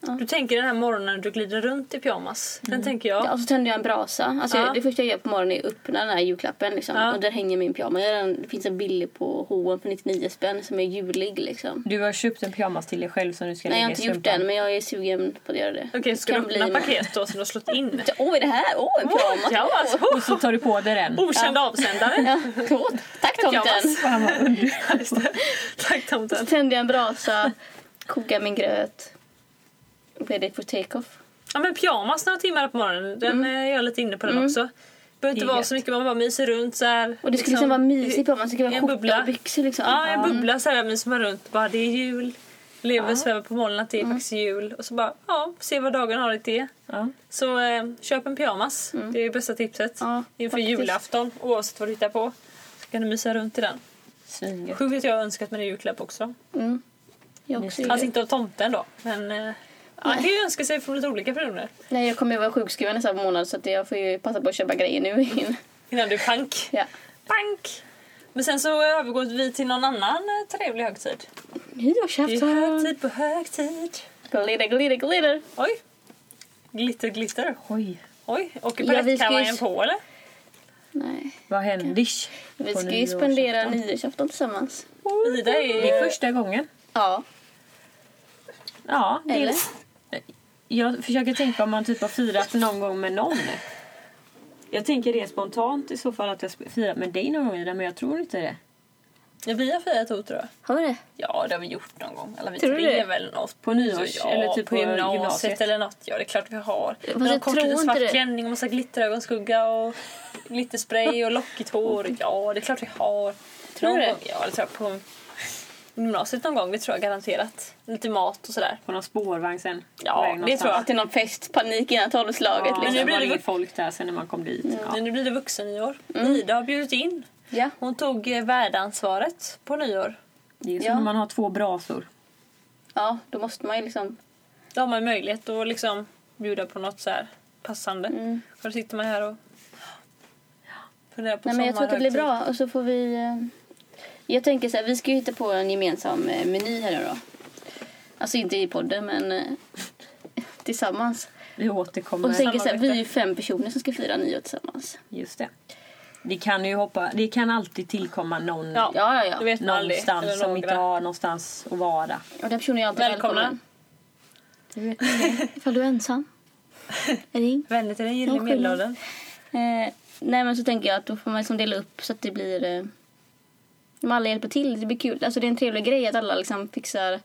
A: liksom-
C: Du tänker den här morgonen när du glider runt i pyjamas. Den tänker jag.
A: Mm. ja. och så tänder jag en brasa. Alltså
C: Ja.
A: jag, det första jag gör på morgonen är att öppna den här julklappen liksom.
C: Ja.
A: Och där hänger min pyjamas. Jag har en- Det finns en billig på H&M för 99 spänn som är julig liksom.
B: Du har köpt en pyjamas till dig själv som du ska
A: Nej jag har
B: lägga
A: inte
B: i
A: gjort
B: strumpan.
A: den men jag är sugen på att göra det.
C: Okej, ska du
A: Kan bli
C: öppna
A: med.
C: paket då som du har slått in?
A: Åh vad är det här? Åh en pyjamas!
C: Ja, alltså,
B: Och så tar du på dig den.
C: Okänd avsändare.
A: Ja. Åh, Tack tomten!
C: Pyjamas.
B: Fan, vad underbart.
C: Ja, just det. Tack tomten.
A: Tände jag en brasa, kokade min gröt. Ready for take-off.
C: Ja men pyjamas några timmar på morgonen, den
A: Mm.
C: eh, är jag lite inne på den också. Behöver
B: Det
C: inte
B: är
C: vara
B: gött.
C: så mycket, man bara myser runt så här.
A: Och det skulle liksom vara mysigt på man skulle
C: i
A: vara
C: en
A: skjorta
C: bubbla.
A: och byxor liksom.
C: Ja, en bubbla så här myser man runt. Bara det är jul. Lever svävar på molnen att det är
A: Mm.
C: faktiskt jul. Och så bara, ja, se vad dagen har lite är.
B: Ja.
C: Så eh, köp en pyjamas. Det är det bästa tipset.
A: Mm. Ja,
C: Inför
A: faktiskt.
C: julafton, oavsett vad du hittar på. Så kan du mysa runt i den.
B: Svingött.
C: Sjukt att jag har önskat mig en julklapp också.
A: Mm. Jag också.
C: Alltså inte av tomten då, men eh, ja, man kan ju önska sig från lite olika personer.
A: Nej, jag kommer ju vara sjukskriven nästa månad så att jag får ju passa på att köpa grejer nu.
C: Innan du pank.
A: ja.
C: Pank! Men sen så övergår vi till någon annan eh, trevlig högtid. Det är
A: Nyårsafton!
C: högtid på högtid.
A: Glitter, glitter, glitter!
C: Oj! Glitter, glitter.
B: Oj,
C: Oj, åker
A: Ja, vi ska ju-
C: palettkavajen på eller?
A: Nej.
B: vad händish.
A: Vi
B: på
A: ska ju
B: nyårsafton.
A: spendera nyårsafton tillsammans.
C: Ida
B: Det
C: är...
B: är första gången.
A: Ja.
B: Ja, det är-
A: Eller?
B: Jag försöker tänka om man typ har firat någon gång med någon. Jag tänker det spontant i så fall att jag sp- firat med dig någon gång Ida, men jag tror inte det.
C: Ja, vi har firat ihop tror jag.
A: Har vi det?
C: Ja, det har vi gjort någon gång. Eller vi
A: Tror du det?
C: tre väl något.
B: På nyårs-
C: ja,
B: eller typ
C: på
B: på
C: gymnasiet,
B: gymnasiet.
C: eller något. Ja, det är klart vi har. Men
A: jag
C: de kom till
A: tror
C: en
A: inte
C: svart
A: det.
C: klänning och massa glitterögonskugga och glitterspray och lockigt hår. Ja, det är klart vi har.
A: Tror
C: någon
A: du det?
C: Gång, ja, det tror jag på gymnasiet någon gång. Det tror jag garanterat. Lite mat och sådär.
B: På någon spårvagn sen.
C: Ja,
B: Väg
C: det
B: någonstans.
C: tror jag.
A: Till någon fest, panik innan tolvslaget
B: Ja, men
A: liksom.
B: nu blir det
C: ju-
B: inget folk där sen när man kom dit. Ja.
C: Men nu blir det vuxennyår.
A: Mm.
C: Ida har bjudit in.
A: Ja.
C: Hon tog eh, värdansvaret på nyår.
B: Det är som
A: Ja.
B: när man har två brasor.
A: ja, då måste man ju liksom...
C: Då har man ju möjlighet att liksom bjuda på något så här passande.
A: Mm.
C: Och då sitter man här och funderar på
A: Nej, men jag tror att det blir
C: sommarhögtid.
A: bra. Och så får vi... eh, Jag tänker så här, vi ska ju hitta på en gemensam eh, meny här nu då. Alltså inte i podden, men eh, tillsammans.
B: Vi återkommer.
A: Och tänker så här, vi
C: samarbete.
A: är ju fem personer som ska fira nyår tillsammans.
B: Just det. Det kan ju hoppa, det kan alltid tillkomma någon
C: Ja.
A: Ja, ja,
C: Det
A: ja.
C: vet man aldrig.
B: någonstans
C: Eller
B: som
C: några.
B: inte har någonstans att vara.
A: Och den personen är alltid
C: Välkomna.
A: välkommen.
B: Det vet ni.
A: Ifall du är ensam. Ring.
C: Vänner till den
A: Någon
C: gyllene
A: skillnad.
C: medelåldern.
A: Eh, nej men så tänker jag att då får man liksom dela upp så att det blir... Eh, om alla hjälper till, det blir kul. Alltså det är en trevlig grej att alla liksom fixar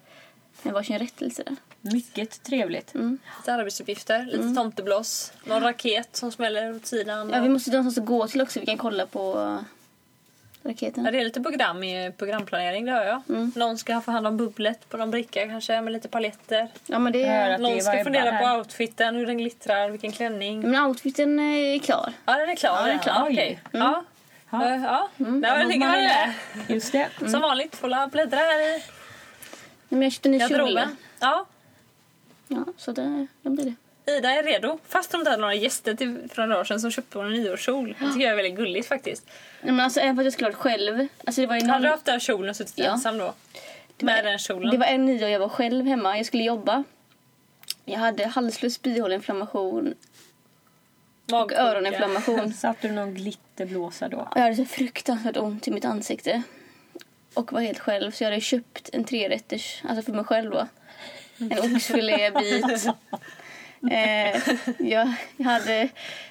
A: en varsin rättelse. där. Mm.
B: Mycket trevligt.
C: Lite arbetsuppgifter, lite tomteblås, någon raket som smäller åt sidan.
A: Ja,
C: och-
A: vi måste ju någonstans att gå till också. Vi kan kolla på eh,
C: Ja,
A: raketerna.
C: det är lite program i programplanering, det hör jag.
A: Mm.
C: Någon ska få hand om bubblet på någon bricka kanske med lite paletter.
A: Ja men det
B: Här
A: är...
B: att
C: Någon
B: det
C: ska
B: var Ebba
C: fundera
B: här.
C: på outfiten, hur den glittrar, vilken klänning.
A: Men outfiten eh, är klar.
C: Ja, den är klar.
B: den är
C: redan.
B: klar.
C: Okej.
A: Mm.
C: Ja.
B: Ja.
C: Ja, ja. där var det ligger
B: man
C: man i det.
B: Just det.
A: Mm.
C: Som vanligt, får la bläddra här i
A: Nej, men jag köpte en ny kjol.
C: garderoben. Ja.
A: Ja, så det, det blir det.
C: Ida är redo. Fast hon inte hade några gäster till, från några år sedan som köpte hon en nyårskjol. Det tycker jag är väldigt gulligt faktiskt.
A: Nej, men alltså även för att jag skulle ha varit själv. Alltså det var ju
C: Hade
A: någon...
C: du haft den här kjolen och suttit
A: Ja.
C: ensam då? Med den kjolen?
A: Det var en nio och jag var själv hemma. Jag skulle jobba. Jag hade halsfluss, bihåleinflammation och
C: Magkoka.
A: öroninflammation.
B: Satt du någon glitterblåsa då?
A: Och jag hade så fruktansvärt ont i mitt ansikte. Och var helt själv. Så jag hade köpt en trerätters, alltså för mig själv då. En oxfilébit. eh, jag, jag hade,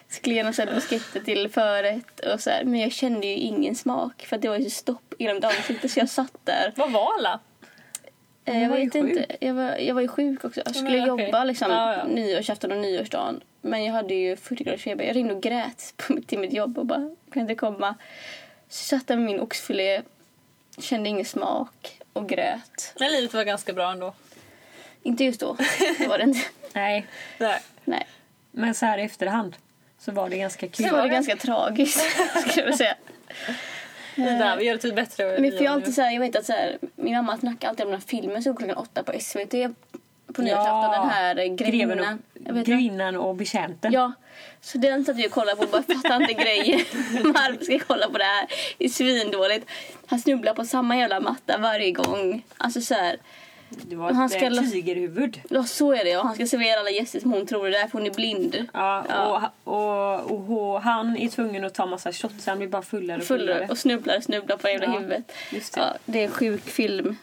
A: skulle gärna säga brusketter till förrätt och så här. Men jag kände ju ingen smak för att det var ju så stopp i mitt ansikte så jag satt där.
C: Vad var alla?
A: Eh, Jag
B: var ju
A: vet
B: sjuk.
A: inte. Jag var, jag var ju sjuk också. Jag skulle
C: men okej.
A: jobba liksom
C: Ja, ja.
A: nyårsafton och nyårsdagen. Men jag hade ju 40 graders feber. Jag ringde och grät på mitt, till mitt jobb och bara kan inte komma. Så jag satt där med min oxfilé, kände ingen smak och grät.
C: Men livet var ganska bra ändå.
A: Inte just då. Det var det inte.
B: Nej,
C: Nej.
A: Nej.
B: men så här i efterhand så var det ganska kul.
A: Sen var det ganska tragiskt skulle jag vilja säga.
C: Ida, vi gör det typ bättre.
A: Eh. Men för jag,
C: Ida
A: alltid så här, jag vet att så här, min mamma snackar alltid om den här filmen som går klockan åtta på SVT på nyårsafton den här eh,
B: greven
A: grevinnan. Jag
B: och,
A: vet inte.
B: grevinnan och betjänten.
A: Ja, så den satt vi och kollade på och bara fattar inte grejen. Varför ska jag kolla på det här? Det är svindåligt. Han snubblar på samma jävla matta varje gång. Alltså så här.
B: Det var
A: Och han
B: ett eh,
A: ska la-
B: tigerhuvud.
A: Ja, så är det. Och han ska servera alla gäster som hon tror det är därför hon är blind.
B: Ja,
A: Ja.
B: Och, och, och, och han är tvungen att ta massa shots, han blir bara fullare och fullare.
A: Full och snubblar och snubblar på jävla
B: Ja,
A: huvudet.
B: just det.
A: Ja, det är en sjuk film.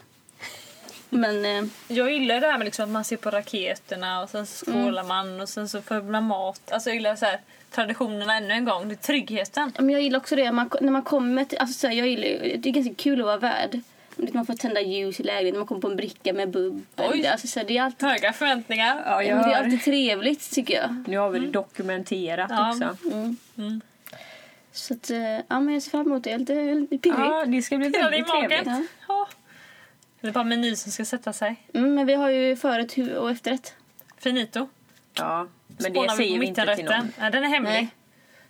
A: Men eh,
C: Jag gillar det här med liksom att man ser på raketerna och sen
A: Mm.
C: så skålar man och sen så får man mat. Alltså jag gillar så här, traditionerna ännu en gång. Det är tryggheten.
A: men jag gillar också det. Man, när man kommer till, alltså, så här, jag gillar, ju- det är ganska kul att vara värd. Du vet, Man får tända ljus i lägenheten, man kommer på en bricka med bubbel.
C: Oj.
A: Alltså, så här, det, är alltid,
C: Höga förväntningar.
B: Ja, jag
A: men det är
B: hör.
A: alltid trevligt tycker jag.
B: Nu har vi det dokumenterat
C: Mm. Ja.
B: också.
A: Mm.
C: Mm.
A: Så att, eh, ja, men jag ser fram emot det. Det är lite, lite pirrigt.
B: Ja, det ska bli
C: Pirrar i
B: väldigt trevligt.
A: Ja.
C: magen. Ja. Det är bara meny som ska sätta sig.
A: Mm, men vi har ju förrätt hu- och efterrätt.
C: Finito.
B: Ja, men det
C: Spånar
B: säger
C: på
B: vi inte till någon.
C: mittenrätten. Nej, den är hemlig.
A: Nej.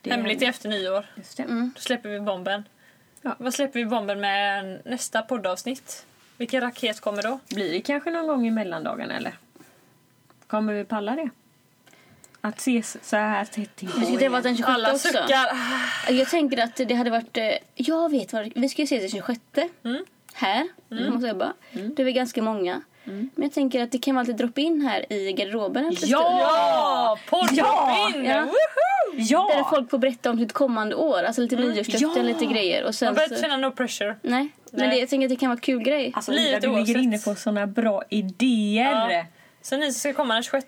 B: Det är
C: Hemligt
B: hemligt.
C: efter nyår.
B: Just det.
A: Mm.
C: Då släpper vi bomben.
B: Ja.
C: Vad släpper vi bomben med nästa poddavsnitt? Vilken raket kommer då?
B: Blir det kanske någon gång i mellandagarna eller? Kommer vi palla det? Att ses så här tätt in
A: Jag tyckte det var den 26
C: Alla
A: också.
C: suckar.
A: Jag tänker att det hade varit... eh, Jag vet vad det- Vi ska ju ses den 26.
C: Mm.
A: Här. Mm. Måste jag bara. Då är vi ganska många. Men jag tänker att det kan vara lite drop in här i garderoben en liten stund.
C: Ja! Poddavsnitt!
A: Ja.
C: Ja.
A: Där
B: Ja!
A: folk får berätta om sitt kommande år. Alltså lite nyårslöften,
B: Ja.
A: lite grejer. Och
C: Man
A: sen
C: behöver inte
A: så,
C: känna no pressure.
A: nej. Men
C: Nej.
A: det, jag tänker att det kan vara en kul grej.
B: Alltså
C: Livet
B: Ida, du ligger
C: oavsett.
B: inne på såna bra idéer.
C: Ja. Så ni som ska komma den 26...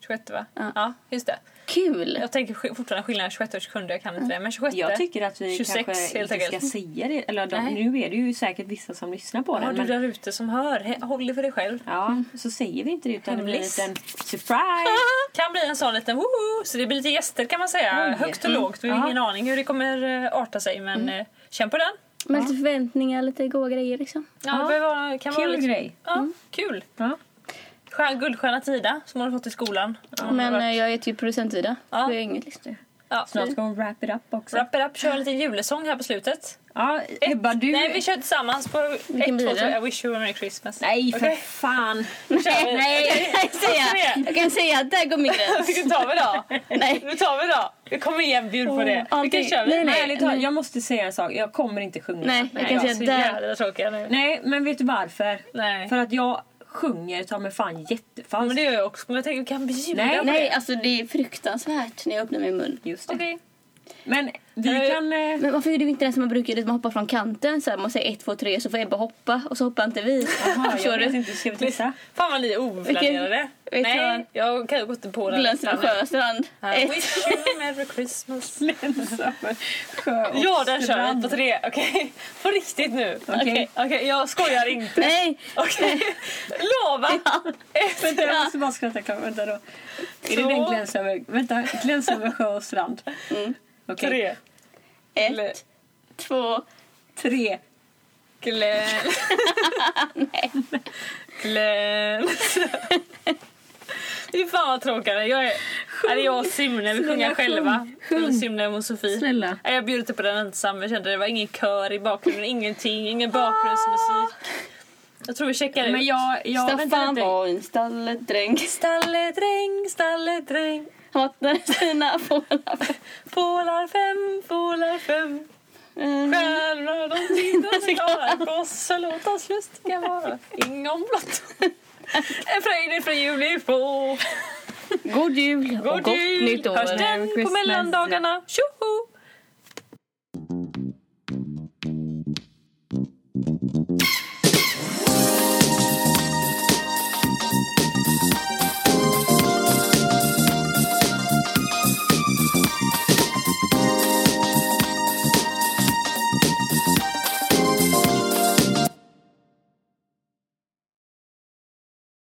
C: 26 va?
A: Ja.
C: ja, just det.
A: Kul!
C: Jag tänker sk- fortfarande skillnaden 26 och 27, jag kan inte det. Men 26.
B: Jag tycker att vi
C: 26
B: kanske
C: helt
B: inte ska
C: enkelt.
B: säga det. Eller de,
C: Nej.
B: nu är det ju säkert vissa som lyssnar på
C: Ja,
B: den.
C: du
B: Men,
C: där ute som hör, he- håll dig för dig själv.
B: ja, så säger vi inte det utan det blir en
C: Hemlis.
B: liten surprise.
C: Kan bli en sån liten woho! Så det blir lite gäster kan man säga.
B: Oj. Mm.
C: Högt och lågt. Vi har
B: Ja.
C: ingen aning hur det kommer eh, arta sig men eh, känn på den.
A: Med lite förväntningar, lite goa grejer liksom.
C: Ja,
B: Ja.
C: Det behöver vara- kan
B: Kul
C: vara lite,
B: grej.
C: Ja,
A: Mm.
C: Kul!
B: liksom- Ja.
C: Stjär, guldstjärna Tida som hon har fått i skolan. Hon
A: Men
C: har
A: eh,
C: varit-
A: jag heter ju producent-Ida.
C: Ja.
A: Det är inget liksom.
C: ja.
B: Snart ska hon wrap it up också.
C: Wrap it up, kör en liten julesång här på slutet.
B: Ja, Ebba du...
C: Nej, vi kör tillsammans på
A: Vilken
C: ett, två,
A: blir det?
C: tre. I wish you a merry christmas.
B: Nej, för
C: Okej.
B: fan.
C: Nu kör vi.
A: Nej, jag kan säga, jag kan säga att där går min gräns.
C: Nu tar vi då.
A: Nej.
C: Nu tar vi då. Vi kommer igen, bjud på det.
A: Åh,
C: Vilken
A: alltid.
C: kör vi?
A: Nej, nej.
B: Ärligt talat, jag måste säga en sak. Jag kommer inte sjunga.
A: Nej, jag kan
C: jag
A: säga
C: är så
A: att där...
C: jävla tråkiga nu.
B: Nej, men vet du varför?
C: Nej.
B: För att jag sjunger ta mig fan
C: Men
B: jättefalskt.
C: det gör jag också. Men jag tänker, vi kan bjuda
B: Nej,
C: på
A: Nej,
C: det.
A: alltså det är fruktansvärt när jag öppnar min mun.
B: Just det.
C: Okej.
B: Men vi
C: Nej.
B: kan... eh,
A: Men varför gjorde vi inte det som man brukar göra, att man hoppar från kanten så här, man säger ett, två, tre så får Ebba hoppa och så hoppar inte vi.
B: Jaha,
A: Förstår
B: jag vet
A: du?
B: inte. Ska vi testa?
C: Fan vad ni är oförplanerade.
A: Vilken- vet
C: Nej, jag kan ju gå inte på den.
A: Glömska sjöstrand.
C: I
A: Ett.
C: wish you a merry christmas.
B: Länsa för sjö och
C: Ja, den kör vi
B: strand.
C: på tre. Okej, på riktigt nu. Okej,
B: Okej.
C: okej, jag skojar inte.
A: Nej!
C: Okej, lova! Ett,
B: Vänta, jag måste bara skratta klart. Vänta då. Är det
C: Så.
B: den gläns över... Vänta, gläns över sjö och strand.
A: Mm.
B: Okej.
C: tre. Eller-
A: Ett, två...
B: Tre.
C: Glenn. Glenn. Fy fan vad tråkigare. Jag är, är det jag och Simne vi sjunger
B: Snälla, sjung.
C: själva.
B: Sjung.
C: Eller Simne och Sofie.
B: Snälla.
C: Nej, Jag bjöd inte på den ensam. Jag kände det var ingen kör i bakgrunden, ingenting, ingen bakgrundsmusik. Jag tror vi checkar ut.
B: Men jag... jag vänta
A: Staffan
B: lite.
A: var en stalledräng.
C: Stalledräng, stalledräng.
A: Han vattnade sina fålar.
C: Fålar fem, fålar fem.
A: Eh,
C: Stjärnor de tittar klara Gosse låt oss lustiga vara Ingon blott En fröjd är fri jul är på
A: God jul och
C: God
A: gott
C: jul!
A: nytt år.
C: Hörs den på
B: Christmas.
C: mellandagarna Tjoho!